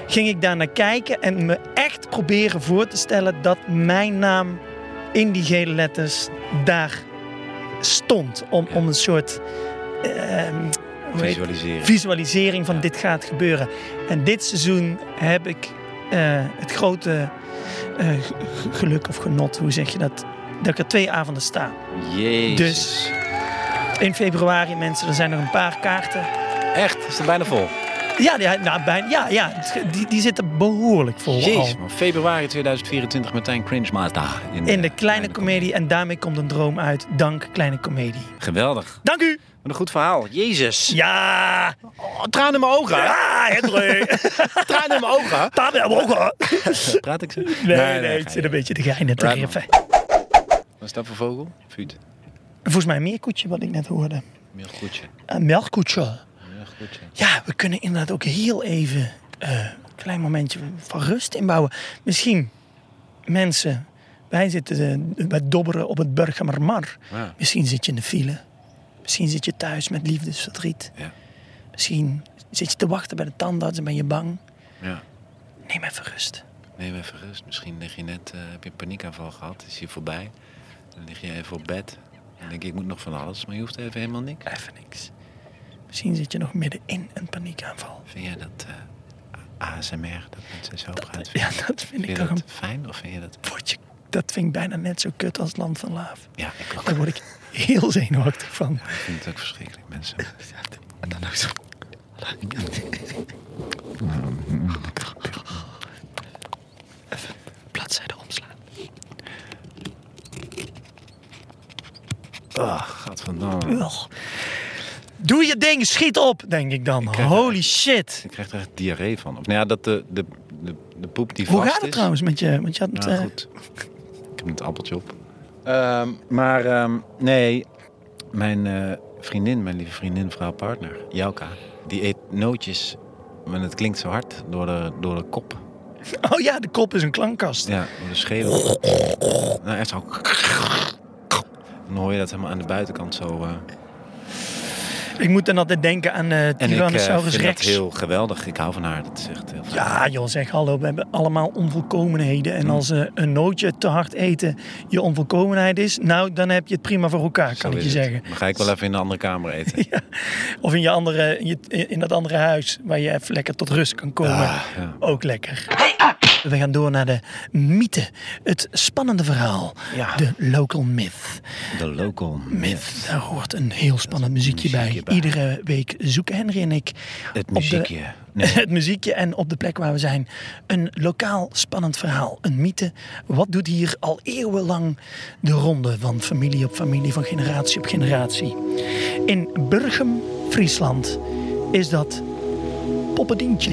ging ik daar naar kijken en me echt proberen voor te stellen dat mijn naam in die gele letters daar stond. Om, om een soort ehm, hoe heet- Visualiseren. visualisering van dit gaat gebeuren. En dit seizoen heb ik eh, het grote eh, g- g- geluk of genot, hoe zeg je dat, dat ik er twee avonden sta. Jezus. Dus- In februari, mensen, er zijn nog een paar kaarten. Echt, is het bijna vol. Ja, ja, nou, bijna, ja, ja het- die, die zitten behoorlijk vol al. Jezus, man. Februari 2024, Martijn Cringe Maasda. In de kleine komedie en daarmee komt een droom uit. Dank kleine komedie. Geweldig. Dank u. Wat een goed verhaal. Jezus. Ja. Oh, tranen in mijn ogen. Ah, Hendrik. Tranen in mijn ogen. Daar ben je ook. Praat ik zo? Nee, nee, ik zit een beetje te geinen te Right, man. geven. Wat is dat voor vogel? Vuut. Volgens mij een meerkoetje wat ik net hoorde. Meer goedje. Een melkkoetje. Meer goedje. Ja, we kunnen inderdaad ook heel even eh, een klein momentje van rust inbouwen. Misschien mensen, wij zitten eh, bij dobberen op het Burgermar. Ja. Misschien zit je in de file. Misschien zit je thuis met liefdesverdriet. Ja. Misschien zit je te wachten bij de tandarts en ben je bang. ja. Neem even rust. Neem even rust. Misschien lig je net, eh, heb je een paniekaanval gehad. Is hier voorbij. Dan lig je even op bed. Dan denk je, ik moet nog van alles. Maar je hoeft even helemaal niks. Even niks. Misschien zit je nog midden in een paniekaanval. Vind jij dat eh, ASMR, dat mensen zo praten? Ja, dat vind ik Vind je toch een dat fijn of vind je dat... potje. Dat vind ik bijna net zo kut als het Land van Laaf. Ja, ik ook. Daar word ik heel zenuwachtig van. Ik vind het ook verschrikkelijk, mensen. En dan ook zo. Even bladzijde omslaan. Oh, godverdamme. Ugh. Doe je ding, schiet op, denk ik dan. krijg- Holy shit. Ik krijg er echt diarree van. Of nou ja, dat de, de, de, de poep die Hoe vast gaat het is. trouwens met je? Want je had het, Nou, eh, goed. Ik heb het appeltje op. Ehm, maar ehm, nee, mijn eh, vriendin, mijn lieve vriendin, vrouw, partner, Jouka, die eet nootjes. En het klinkt zo hard door de, door de kop. Oh ja, de kop is een klankkast. Ja, door de schedel. Nou, echt zo. Dan hoor je dat helemaal aan de buitenkant zo. eh. Ik moet dan altijd denken aan eh En ik eh, Tyrannosaurus vind dat Rex. heel geweldig. Ik hou van haar. Dat is echt heel fijn. Ja, joh, zeg hallo. We hebben allemaal onvolkomenheden. Mm. En als eh, een nootje te hard eten je onvolkomenheid is, nou, dan heb je het prima voor elkaar, Zo kan ik is je het. zeggen. Dan ga ik wel even in de andere kamer eten. Of in, je andere, in, je- in dat andere huis waar je even lekker tot rust kan komen. Ah, ja. Ook lekker. Hey, ah, We gaan door naar de mythe. Het spannende verhaal. Ja. De local myth. De local myth. Daar hoort een heel spannend muziekje, muziekje bij. bij. Iedere week zoeken Henry en ik Het op de- muziekje. Nee. het muziekje en op de plek waar we zijn een lokaal spannend verhaal, een mythe. Wat doet hier al eeuwenlang de ronde van familie op familie, van generatie op generatie? In Burgum, Friesland, is dat Poppedientje.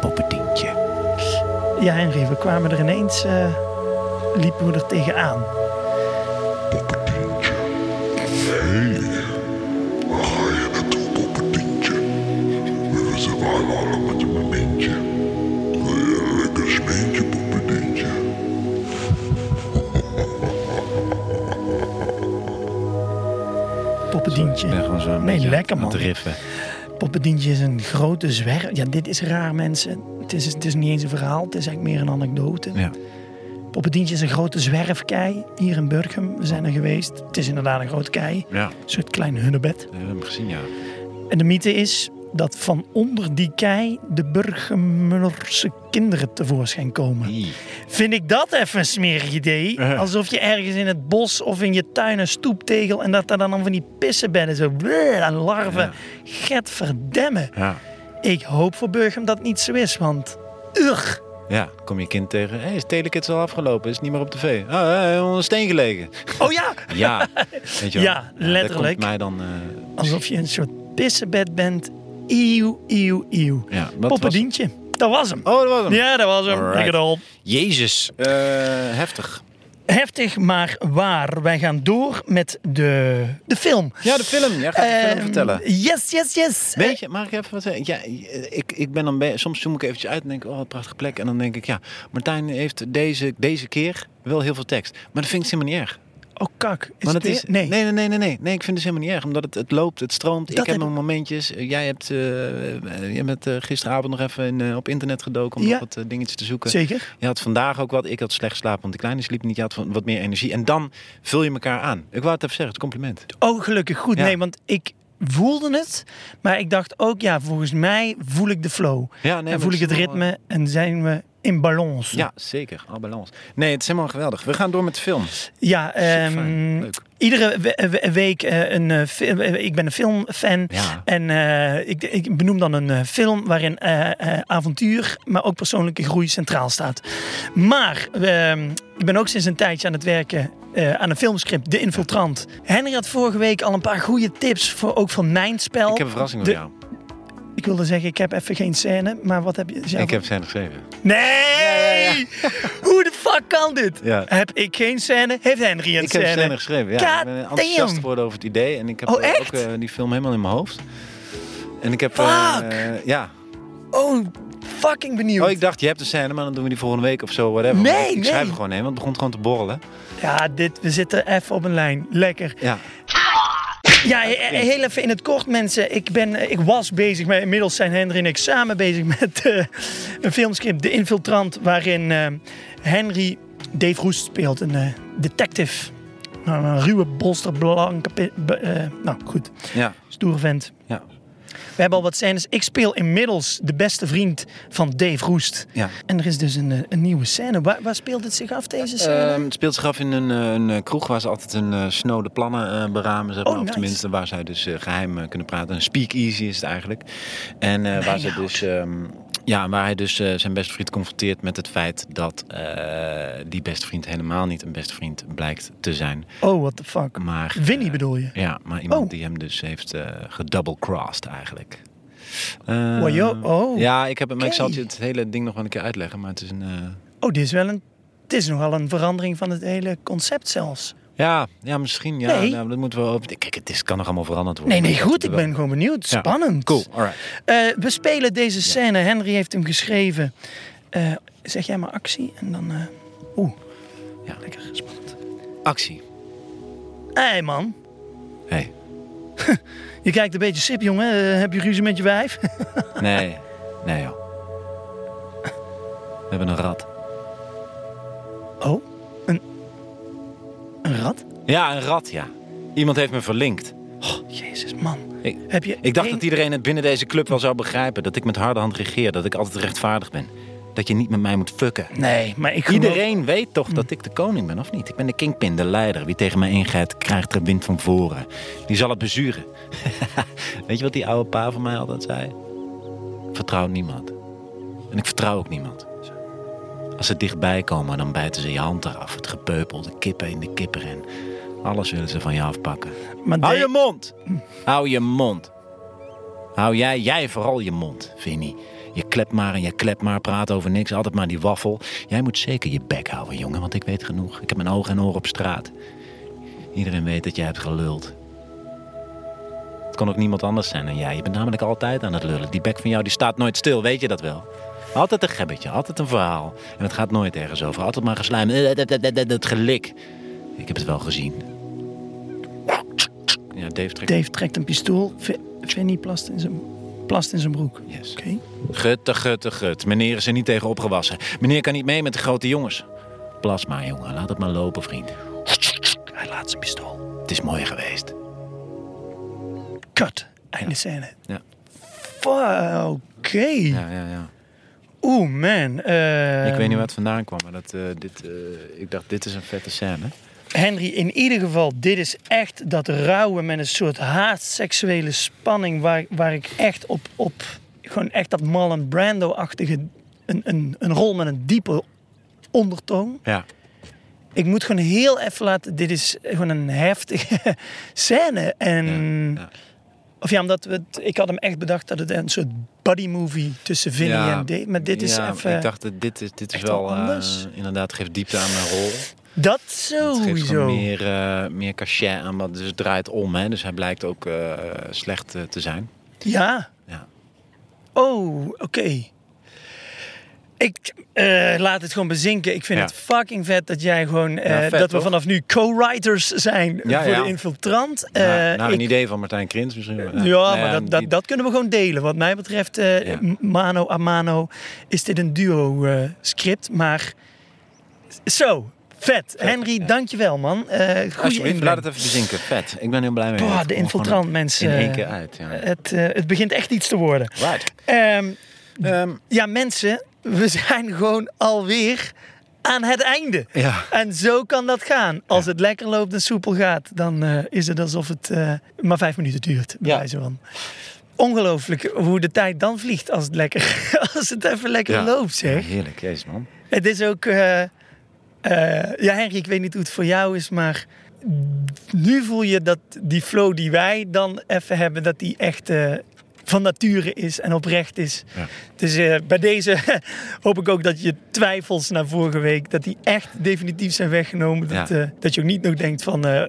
Poppetientje. Ja, Henry, we kwamen er ineens, eh, liepen we er tegenaan. Hoi, het poppetientje. We zitten allemaal met een momentje. Wil je een lekker smeentje, poppetientje? Poppedientje. Ik ben gewoon zo een nee, beetje lekker aan man. het riffen. Poppedientje is een grote zwerver. Ja, dit is raar, mensen. Het is, het is niet eens een verhaal, het is eigenlijk meer een anekdote. Ja. Poppedientje is een grote zwerfkei hier in Burgum. We zijn er geweest. Het is inderdaad een grote kei. Ja. Een soort klein hunnebed. We hebben hem gezien, ja. En de mythe is dat van onder die kei de Burgemerse kinderen tevoorschijn komen. Ie. Vind ik dat even een smerig idee? Ja. Alsof je ergens in het bos of in je tuin een stoeptegel... en dat daar dan van die pissenbedden zo... bleh, en larven. Ja. Get verdemmen. Ja. Ik hoop voor Burgum dat het niet zo is, want... Ugh. Ja, kom je kind tegen. Hé, is Telekids al afgelopen? Is niet meer op tv? Ah, hij heeft onder een steen gelegen. Oh ja! Ja, weet je wel. Ja, Dat letterlijk. komt mij dan... eh, Alsof je een soort pissenbed bent. Eeuw, eeuw, eeuw. Ja, wat was- Poppedientje. Dat was hem. Oh, dat was hem. Ja, dat was hem. Alright. Lekker al. Jezus. eh, heftig. Heftig, maar waar. Wij gaan door met de, de film. Ja, de film. Jij gaat de film Ehm, vertellen. Yes, yes, yes. Eh, Weet je, mag ik even wat zeggen? Ja, ik, ik ben dan bij, soms zoom ik eventjes uit en denk, oh, wat een prachtige plek. En dan denk ik, ja, Martijn heeft deze, deze keer wel heel veel tekst. Maar dat vind ik dus helemaal niet erg. Oh, kak. Is Maar het dat is, weer? Nee. nee, nee, nee, nee, nee. Nee, ik vind het dus helemaal niet erg, omdat het, het loopt, het stroomt. Dat ik heb heb mijn momentjes. Eh, Jij hebt, eh, eh, jij bent eh, gisteravond nog even in, eh, op internet gedoken om Ja. nog wat eh, dingetjes te zoeken. Zeker. Je had vandaag ook wat. Ik had slecht slapen, want de kleine sliep niet. Je had van- wat meer energie. En dan vul je elkaar aan. Ik wou het even zeggen, het compliment. Oh, gelukkig. Goed. Ja. Nee, want ik voelde het. Maar ik dacht ook, ja, volgens mij voel ik de flow. Ja, nee, maar en voel ik ik het zie wel, ritme en zijn we in balans. Ja, zeker. Al balans. Nee, het is helemaal geweldig. We gaan door met de film. Ja, ehm, fijn. Leuk. iedere we- we- week eh, een eh, film. eh, Ik ben een filmfan. Ja. En eh, ik, ik benoem dan een eh, film waarin eh, eh, avontuur, maar ook persoonlijke groei centraal staat. Maar ehm, ik ben ook sinds een tijdje aan het werken eh, aan een filmscript, De Infiltrant. Henry had vorige week al een paar goede tips, voor, ook van mijn spel. Ik heb een verrassing De- voor jou. Ik wilde zeggen, ik heb even geen scène, maar wat heb je zelf? Ik heb zijn geschreven. Nee! Hoe de fuck kan dit? Ja. Heb ik geen scène? Heeft Henry een Ik heb scène? scène geschreven. Ja, ik ben God enthousiast damn. geworden over het idee. En ik heb Oh, eh, echt? ook eh, die film helemaal in mijn hoofd. En ik heb... eh, Fuck! eh, ja. Oh, fucking benieuwd. Oh, ik dacht, je hebt de scène, maar dan doen we die volgende week of zo, whatever. Nee, Maar ik nee. schrijf er gewoon heen, want het begon gewoon te borrelen. Ja, dit, we zitten even op een lijn. Lekker. Ja. Ja, he- he- heel even in het kort, mensen. Ik, ben, eh, ik was bezig, maar inmiddels zijn Henry en ik samen bezig met eh, een filmscript, De Infiltrant, waarin eh, Henry Dave Roest speelt, een eh, detective. Nou, een ruwe bolster, blanke... pi- be- eh, nou, goed. Ja. Stoere vent. Ja. We hebben al wat scènes. Ik speel inmiddels de beste vriend van Dave Roest. Ja. En er is dus een, eh, een nieuwe scène. Waar, waar speelt het zich af, deze scène? Ehm, het speelt zich af in een, eh, een eh, kroeg waar ze altijd een eh, snode plannen eh, beramen. Zeg maar. Oh, Of nice. tenminste, waar zij dus eh, geheim eh, kunnen praten. Een speakeasy is het eigenlijk. En eh, waar ze dus. ehm, ja, waar hij dus eh, zijn beste vriend confronteert met het feit dat eh, die beste vriend helemaal niet een beste vriend blijkt te zijn. Oh, what the fuck. Maar, Winnie eh, bedoel je? Ja, maar iemand Oh. die hem dus heeft eh gedoublecrossed eigenlijk. Eh, Wow, yo- oh. Ja, ik, heb, het- maar ik zal Oké. het- het hele ding nog wel een keer uitleggen. Maar het is een... eh, Oh, dit is wel een. Het is nogal een verandering van het hele concept zelfs. Ja, ja misschien. Ja, Nee. Nou, dat moeten we over. Kijk, het is, kan nog allemaal veranderd worden. Nee, nee, Dat goed. we Ik wel- ben gewoon benieuwd. Ja. Spannend. Cool, alright. Eh, we spelen deze scène. Henry heeft hem geschreven. Eh, zeg jij maar actie en dan. eh, Oeh, Ja. lekker spannend. Actie. Hé man, Hey. je kijkt een beetje sip, jongen. Eh, heb je ruzie met je wijf? Nee, nee joh. We hebben een rat. Oh, een. Een rat? Ja, een rat, ja. Iemand heeft me verlinkt. Oh, Jezus, man. Ik, Heb je ik dacht één- dat iedereen het binnen deze club wel zou begrijpen. Dat ik met harde hand regeer. Dat ik altijd rechtvaardig ben. dat je niet met mij moet fucken. Nee, maar ik geloof- Mm. Iedereen weet toch dat ik de koning ben, of niet? Ik ben de kingpin, de leider. Wie tegen mij ingaat, krijgt er wind van voren. Die zal het bezuren. weet je wat die oude pa van mij altijd zei? Vertrouw niemand. En ik vertrouw ook niemand. Als ze dichtbij komen, dan bijten ze je hand eraf. Het gepeupel, de kippen in de kippenren. Alles willen ze van je afpakken. Maar Hou de- je mond! Hou je mond. Hou jij, jij vooral je mond, Vinnie. Je klept maar en je klept maar, praat over niks, altijd maar die waffel. Jij moet zeker je bek houden, jongen, want ik weet genoeg. Ik heb mijn ogen en oren op straat. Iedereen weet dat jij hebt geluld. Het kon ook niemand anders zijn dan jij. Je bent namelijk altijd aan het lullen. Die bek van jou die staat nooit stil, weet je dat wel? Altijd een gebbetje, altijd een verhaal. En het gaat nooit ergens over. Altijd maar geslijm. eh, Het gelik. Ik heb het wel gezien. Ja, Dave trekt Dave trekt een pistool. Vi- Vinnie plast in zijn, plast in zijn broek. Yes. Oké. Gutte, gutte, gut. Meneer is er niet tegen opgewassen. Meneer kan niet mee met de grote jongens. Plas maar, jongen. Laat het maar lopen, vriend. Hij laat zijn pistool. Het is mooi geweest. Cut. Einde scène. Ja, Fuck. Oké. ja, ja. ja. Oeh, man. Eh, ik weet niet waar het vandaan kwam, maar dat, eh, dit, eh, ik dacht, dit is een vette scène. Ehm, Henry, in ieder geval, dit is echt dat rouwen met een soort haatseksuele spanning waar, waar ik echt op, op, gewoon echt dat Marlon Brando-achtige, een, een, een rol met een diepe ondertoon. Ja. Ik moet gewoon heel even laten, dit is gewoon een heftige scène. En, ja. Of ja, omdat we, het- ik had hem echt bedacht dat het een soort buddy movie tussen Vinnie Ja. en Dave, maar dit is Ja, even, Ik dacht, dat dit, is- dit is echt wel wel... eh, anders. Oh, inderdaad, geeft diepte aan mijn rol. dat Het geeft sowieso. gewoon meer, eh, meer cachet aan, wat dus het draait om. Hè. Dus hij blijkt ook eh, slecht eh, te zijn. Ja. Ja. Oh, oké. Ik eh, laat het gewoon bezinken. Ik vind Ja. het fucking vet dat jij gewoon... eh, Ja, vet, dat we toch? vanaf nu co-writers zijn Ja, voor ja. de infiltrant. nou, Eh, nou, een ik- idee van Martijn Krins misschien. wel. Ja, Nou maar dat, die- dat, dat kunnen we gewoon delen. Wat mij betreft, eh, Ja. mano a mano, is dit een duo-script. maar zo, vet. Henry, dankjewel man. Eh goede Alsjeblieft, inbreng. laat het even bezinken. Vet. Ik ben heel blij mee. Boah, Het komt de gewoon infiltrant, in- mensen. In één keer uit. Ja. Het, eh, het begint echt iets te worden. right. Ehm, Ehm, Ja, mensen, we zijn gewoon alweer aan het einde. Ja. En zo kan dat gaan. Als het lekker loopt en soepel gaat, dan eh, is het alsof het eh, maar vijf minuten duurt. Bij Ja. wijze van. Ongelooflijk hoe de tijd dan vliegt als het, lekker, als het even lekker ja. loopt, zeg. Ja, heerlijk, jezus man. Het is ook... eh, eh, ja, Henry, ik weet niet hoe het voor jou is, maar... Nu voel je dat die flow die wij dan even hebben, dat die echt eh, van nature is en oprecht is. Ja. Dus eh, bij deze hoop ik ook dat je twijfels naar vorige week, dat die echt definitief zijn weggenomen. Dat, Ja. eh, dat je ook niet nog denkt van, eh,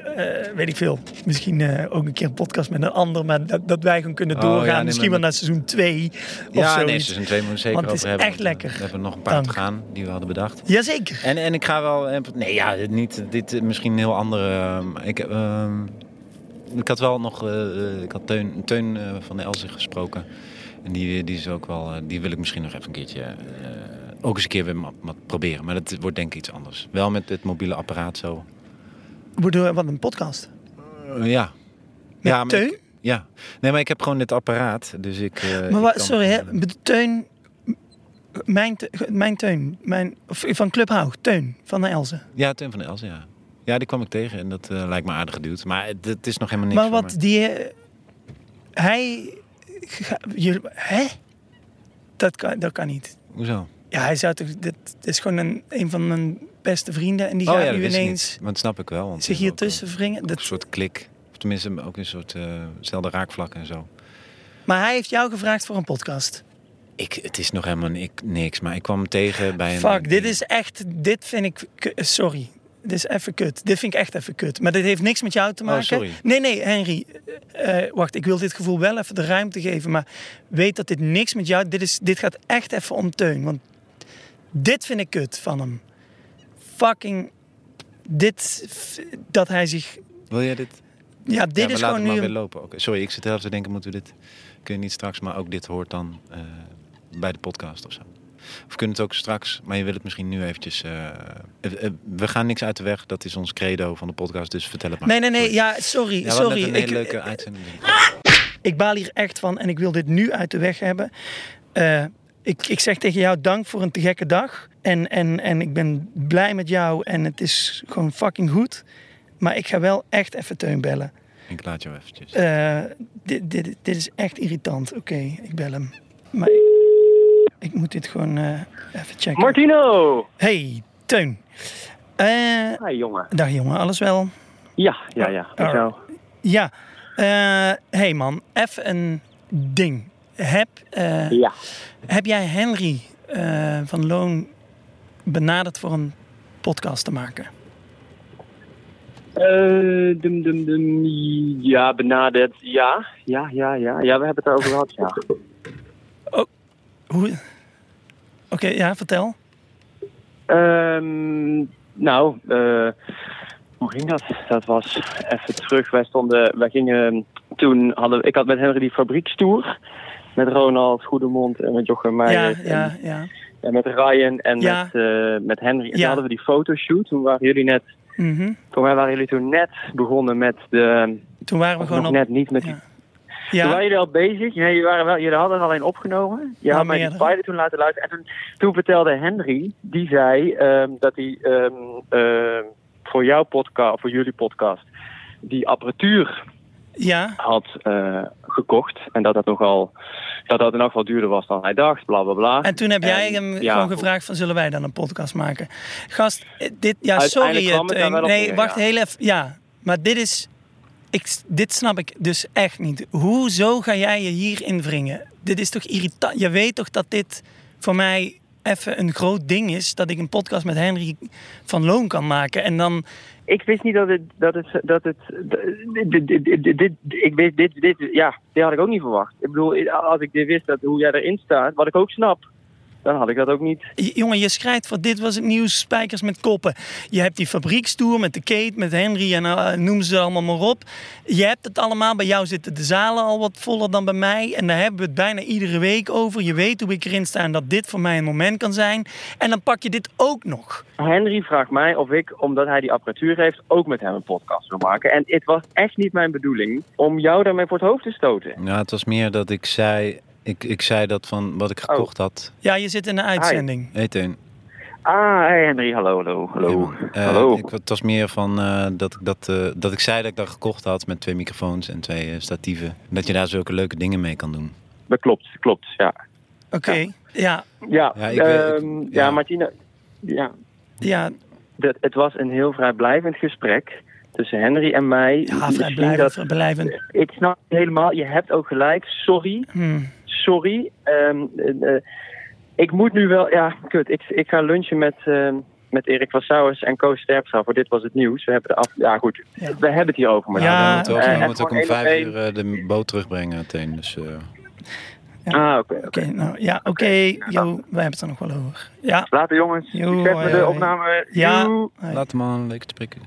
eh, weet ik veel, misschien eh, ook een keer een podcast met een ander, maar dat, dat wij gewoon kunnen Oh, doorgaan. ja, nee, misschien maar wel naar dat- seizoen 2 of Ja, zoiets. nee, ze zijn twee moeten we zeker Want het is over hebben. echt want, eh, lekker. We hebben nog een paar te Dank. gaan die we hadden bedacht. Jazeker. En, en ik ga wel... eh, Nee, ja, dit niet, dit eh, misschien een heel andere... ehm, ik, ehm, ik had wel nog... eh, eh, ik had Teun, Teun eh, van de Elzig gesproken. En die, die is ook wel... eh, die wil ik misschien nog even een keertje... eh, ook eens een keer weer ma- ma- proberen. Maar dat wordt denk ik iets anders. Wel met het mobiele apparaat zo. Waardoor- Wat een podcast. Eh, ja. ja, maar Teun? ik- ja. Nee, maar ik heb gewoon dit apparaat, dus ik... eh, Maar ik wa- kan- sorry, hè, be- Teun, m- mijn, te- mijn Teun, mijn, of van Club Haug, Teun van de Elzen. Ja, Teun van de Elsen, ja. Ja, die kwam ik tegen en dat eh, lijkt me aardig geduwd. Maar het, het is nog helemaal niks Maar voor wat me. die. eh, Hij. ga- jullie- hè? Dat kan, dat kan niet. Hoezo? Ja, hij zou toch. Dit, dit is gewoon een, een van mijn beste vrienden. En die oh gaat ja, dat nu wist ik ineens niet. Maar dat snap ik wel. Want zich het is hier ook een- tussen wringen. Een Dat, soort klik. Of tenminste, ook een soort eh, zelfde raakvlak en zo. maar hij heeft jou gevraagd voor een podcast. Ik, het is nog helemaal ik, niks, maar ik kwam hem tegen bij een... Fuck, dit is echt. Dit vind ik. k- Sorry. Dit is even kut. Dit vind ik echt even kut. Maar dit heeft niks met jou te maken. Oh, sorry. Nee, nee, Henry. eh, eh, wacht, ik wil dit gevoel wel even de ruimte geven. Maar weet dat dit niks met jou... Dit, is, dit gaat echt even om Teun. Want dit vind ik kut van hem. Fucking... Dit... f- Dat hij zich... Wil jij dit? Ja, dit ja, we is laten gewoon het nu... maar een- weer lopen. Oké, Sorry, ik zit heel even te denken, moeten we dit... Kun je niet straks, maar ook dit hoort dan eh, bij de podcast of zo. Of kunnen het ook straks, maar je wil het misschien nu eventjes... eh, eh, eh, we gaan niks uit de weg, dat is ons credo van de podcast, dus vertel het maar. Nee, nee, nee. Ja, sorry. Ja, we hadden sorry. net een hele ik, eh, leuke uitzending. ik baal hier echt van en ik wil dit nu uit de weg hebben. Eh, Ik, ik zeg tegen jou dank voor een te gekke dag. En, en, en ik ben blij met jou en het is gewoon fucking goed. Maar ik ga wel echt even Teun bellen. Ik laat jou eventjes. Eh, dit, dit, dit is echt irritant. Oké, ik bel hem. Maar ik, ik moet dit gewoon eh, even checken. Martino! Hey, Teun. Eh, Hi jongen. dag jongen, alles wel? Ja, ja, ja. En zo. Ja. Eh hey man, even een ding. Heb, eh, Ja. heb jij Henry eh, van Loon benaderd voor een podcast te maken? Eh, dum, dum, dum, ja, benaderd. Ja, ja, ja, ja. Ja, we hebben het erover gehad, ja. Hoe? Oké, ja, vertel. Ehm, nou, eh, hoe ging dat? Dat was even terug. Wij stonden, wij gingen ehm, toen hadden ik had met Henry die fabriekstoer. Met Ronald Goedemond en met Jochem ja, Meijer. ja, ja. En, en met Ryan en Ja. met, eh, met Henry. Ja. En toen hadden we die fotoshoot. Toen waren jullie net, Mhm. voor mij waren jullie toen net begonnen met de, ehm, Toen waren we of gewoon nog op... net niet met Ja. die Ja, Toen waren jullie al bezig. Nee, je, waren wel, jullie hadden het alleen opgenomen. Je Nou, had mij die meerdere. pilot toen laten luisteren. En toen, toen vertelde Henry, die zei ehm, dat hij ehm, ehm, voor jouw podcast, voor jullie podcast, die apparatuur ja, had eh, gekocht. En dat dat nogal, dat dat in elk geval duurder was dan hij dacht, bla bla bla. En toen heb jij En, hem ja, gewoon gevraagd van zullen wij dan een podcast maken? Gast, eh, dit ja Uiteindelijk sorry. kwam het daar Teun. wel op nee, neer, wacht ja. heel even. Ja, maar dit is ik, dit snap ik dus echt niet. Hoezo ga jij je hierin wringen? Dit is toch irritant? Je weet toch dat dit voor mij even een groot ding is dat ik een podcast met Henry van Loon kan maken en dan Ik wist niet dat het, dat het, dat het, dit, dit, dit, dit- ik weet dit, dit, ja, dit had ik ook niet verwacht. Ik bedoel, als ik dit wist, dat hoe jij erin staat, wat ik ook snap, dan had ik dat ook niet. J- Jongen, je schrijft voor dit was het nieuws, spijkers met koppen. Je hebt die fabriekstoer met de Kate, met Henry en eh, noem ze allemaal maar op. Je hebt het allemaal, bij jou zitten de zalen al wat voller dan bij mij. En daar hebben we het bijna iedere week over. Je weet hoe ik erin sta en dat dit voor mij een moment kan zijn. En dan pak je dit ook nog. Henry vraagt mij of ik, omdat hij die apparatuur heeft, ook met hem een podcast wil maken. En het was echt niet mijn bedoeling om jou daarmee voor het hoofd te stoten. Nou, het was meer dat ik zei, ik, ik zei dat van wat ik Oh. gekocht had. Ja, je zit in de uitzending. Hey Teun. Ah, hey Henry, hallo, hallo, hallo. Eh, hallo. Ik, het was meer van eh, dat, ik dat, eh, dat ik zei dat ik dat gekocht had met twee microfoons en twee eh, statieven. Dat je daar zulke leuke dingen mee kan doen. Dat klopt, klopt, ja. Oké, ja, Ja, Ja, ja, ik weet- ja. ja. Martina, ja, ja, dat, het was een heel vrijblijvend gesprek tussen Henry en mij. ja, Misschien vrijblijvend, dat- vrijblijvend. ik snap het helemaal, je hebt ook gelijk, sorry. Hmm. sorry. ehm, eh, eh, ik moet nu wel. Ja, kut. Ik, ik ga lunchen met, ehm, met Erik Wassouwers en Koos Sterpstra. Voor dit was het nieuws. We hebben de af. Ja, goed. Ja. We hebben het hier over. Maar Ja, we moeten ook, eh, we en nou moeten ook om gewoon één op vijf één. uur eh, de boot terugbrengen, Teun. Dus, eh, Ah, oké. oké. Oké, nou ja, oké, joh, wij hebben het er nog wel over. Ja, Later, jongens. Joe, Succes hoi, met de hoi. opname. ja. Joe. Hey. laat hem aan, leuk te spreken.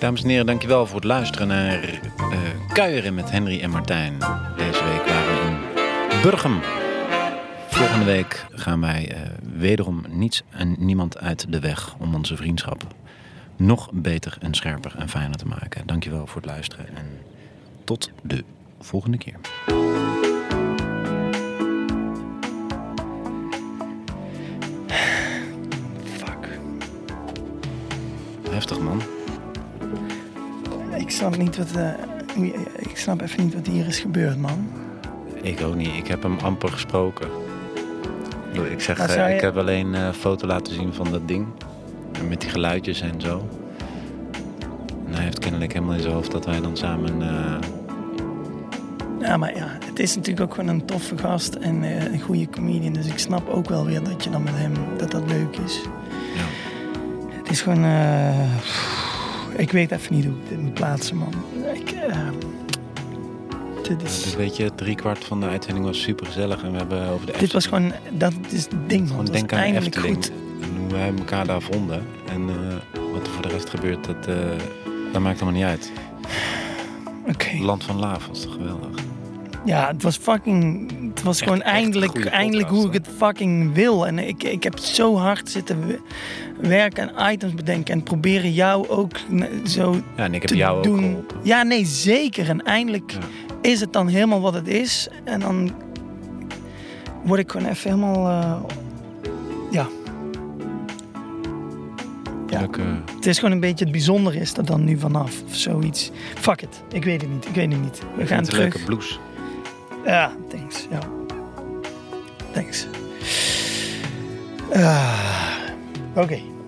Dames en heren, dankjewel voor het luisteren naar eh, Kuieren met Henry en Martijn. Deze week waren we in Burgum. Volgende week gaan wij eh, wederom niets en niemand uit de weg om onze vriendschap nog beter en scherper en fijner te maken. Dankjewel voor het luisteren en tot de volgende keer. Fuck. Heftig man. Ik snap niet wat. eh, hoe je- ik snap even niet wat hier is gebeurd, man. Ik ook niet. Ik heb hem amper gesproken. Ik bedoel, Ik zeg, Maar eh, Nou, zou je- ik heb alleen eh, een foto laten zien van dat ding. En met die geluidjes en zo. En hij heeft kennelijk helemaal in zijn hoofd dat wij dan samen... eh, Ja, maar ja, het is natuurlijk ook gewoon een toffe gast en eh, een goede comedian. Dus ik snap ook wel weer dat je dan met hem dat dat leuk is. ja. Het is gewoon. eh, pff, ik weet even niet hoe ik dit moet plaatsen, man. Ik, eh, dit, Dus is, weet je, driekwart van de uitzending was super gezellig. En we hebben over de dit was Efteling- gewoon. Dat is het ding, man. Gewoon Het was denk aan de eindelijk Efteling. goed. En hoe wij elkaar daar vonden. En eh, wat er voor de rest gebeurt, dat, eh, dat maakt helemaal niet uit. Oké. Het land van Laaf was toch geweldig. Ja, het was fucking. Het was gewoon echt een eindelijk, goede eindelijk hoe ik podcast, het fucking wil. En ik, ik heb zo hard zitten we- werken en items bedenken. En proberen jou ook n- zo Ja, en ik heb te jou doen. ook geholpen. Ja, nee, zeker. En eindelijk Ja. is het dan helemaal wat het is. En dan word ik gewoon even helemaal. eh, ja. Ja. Leuk, eh, Het is gewoon een beetje het bijzondere is er dan nu vanaf of zoiets. Fuck it. Ik weet het niet. Ik weet het niet. We gaan ik vind het een terug. leuke blues. Ja, Ah, thanks. Ja. Thanks. Ah, Oké.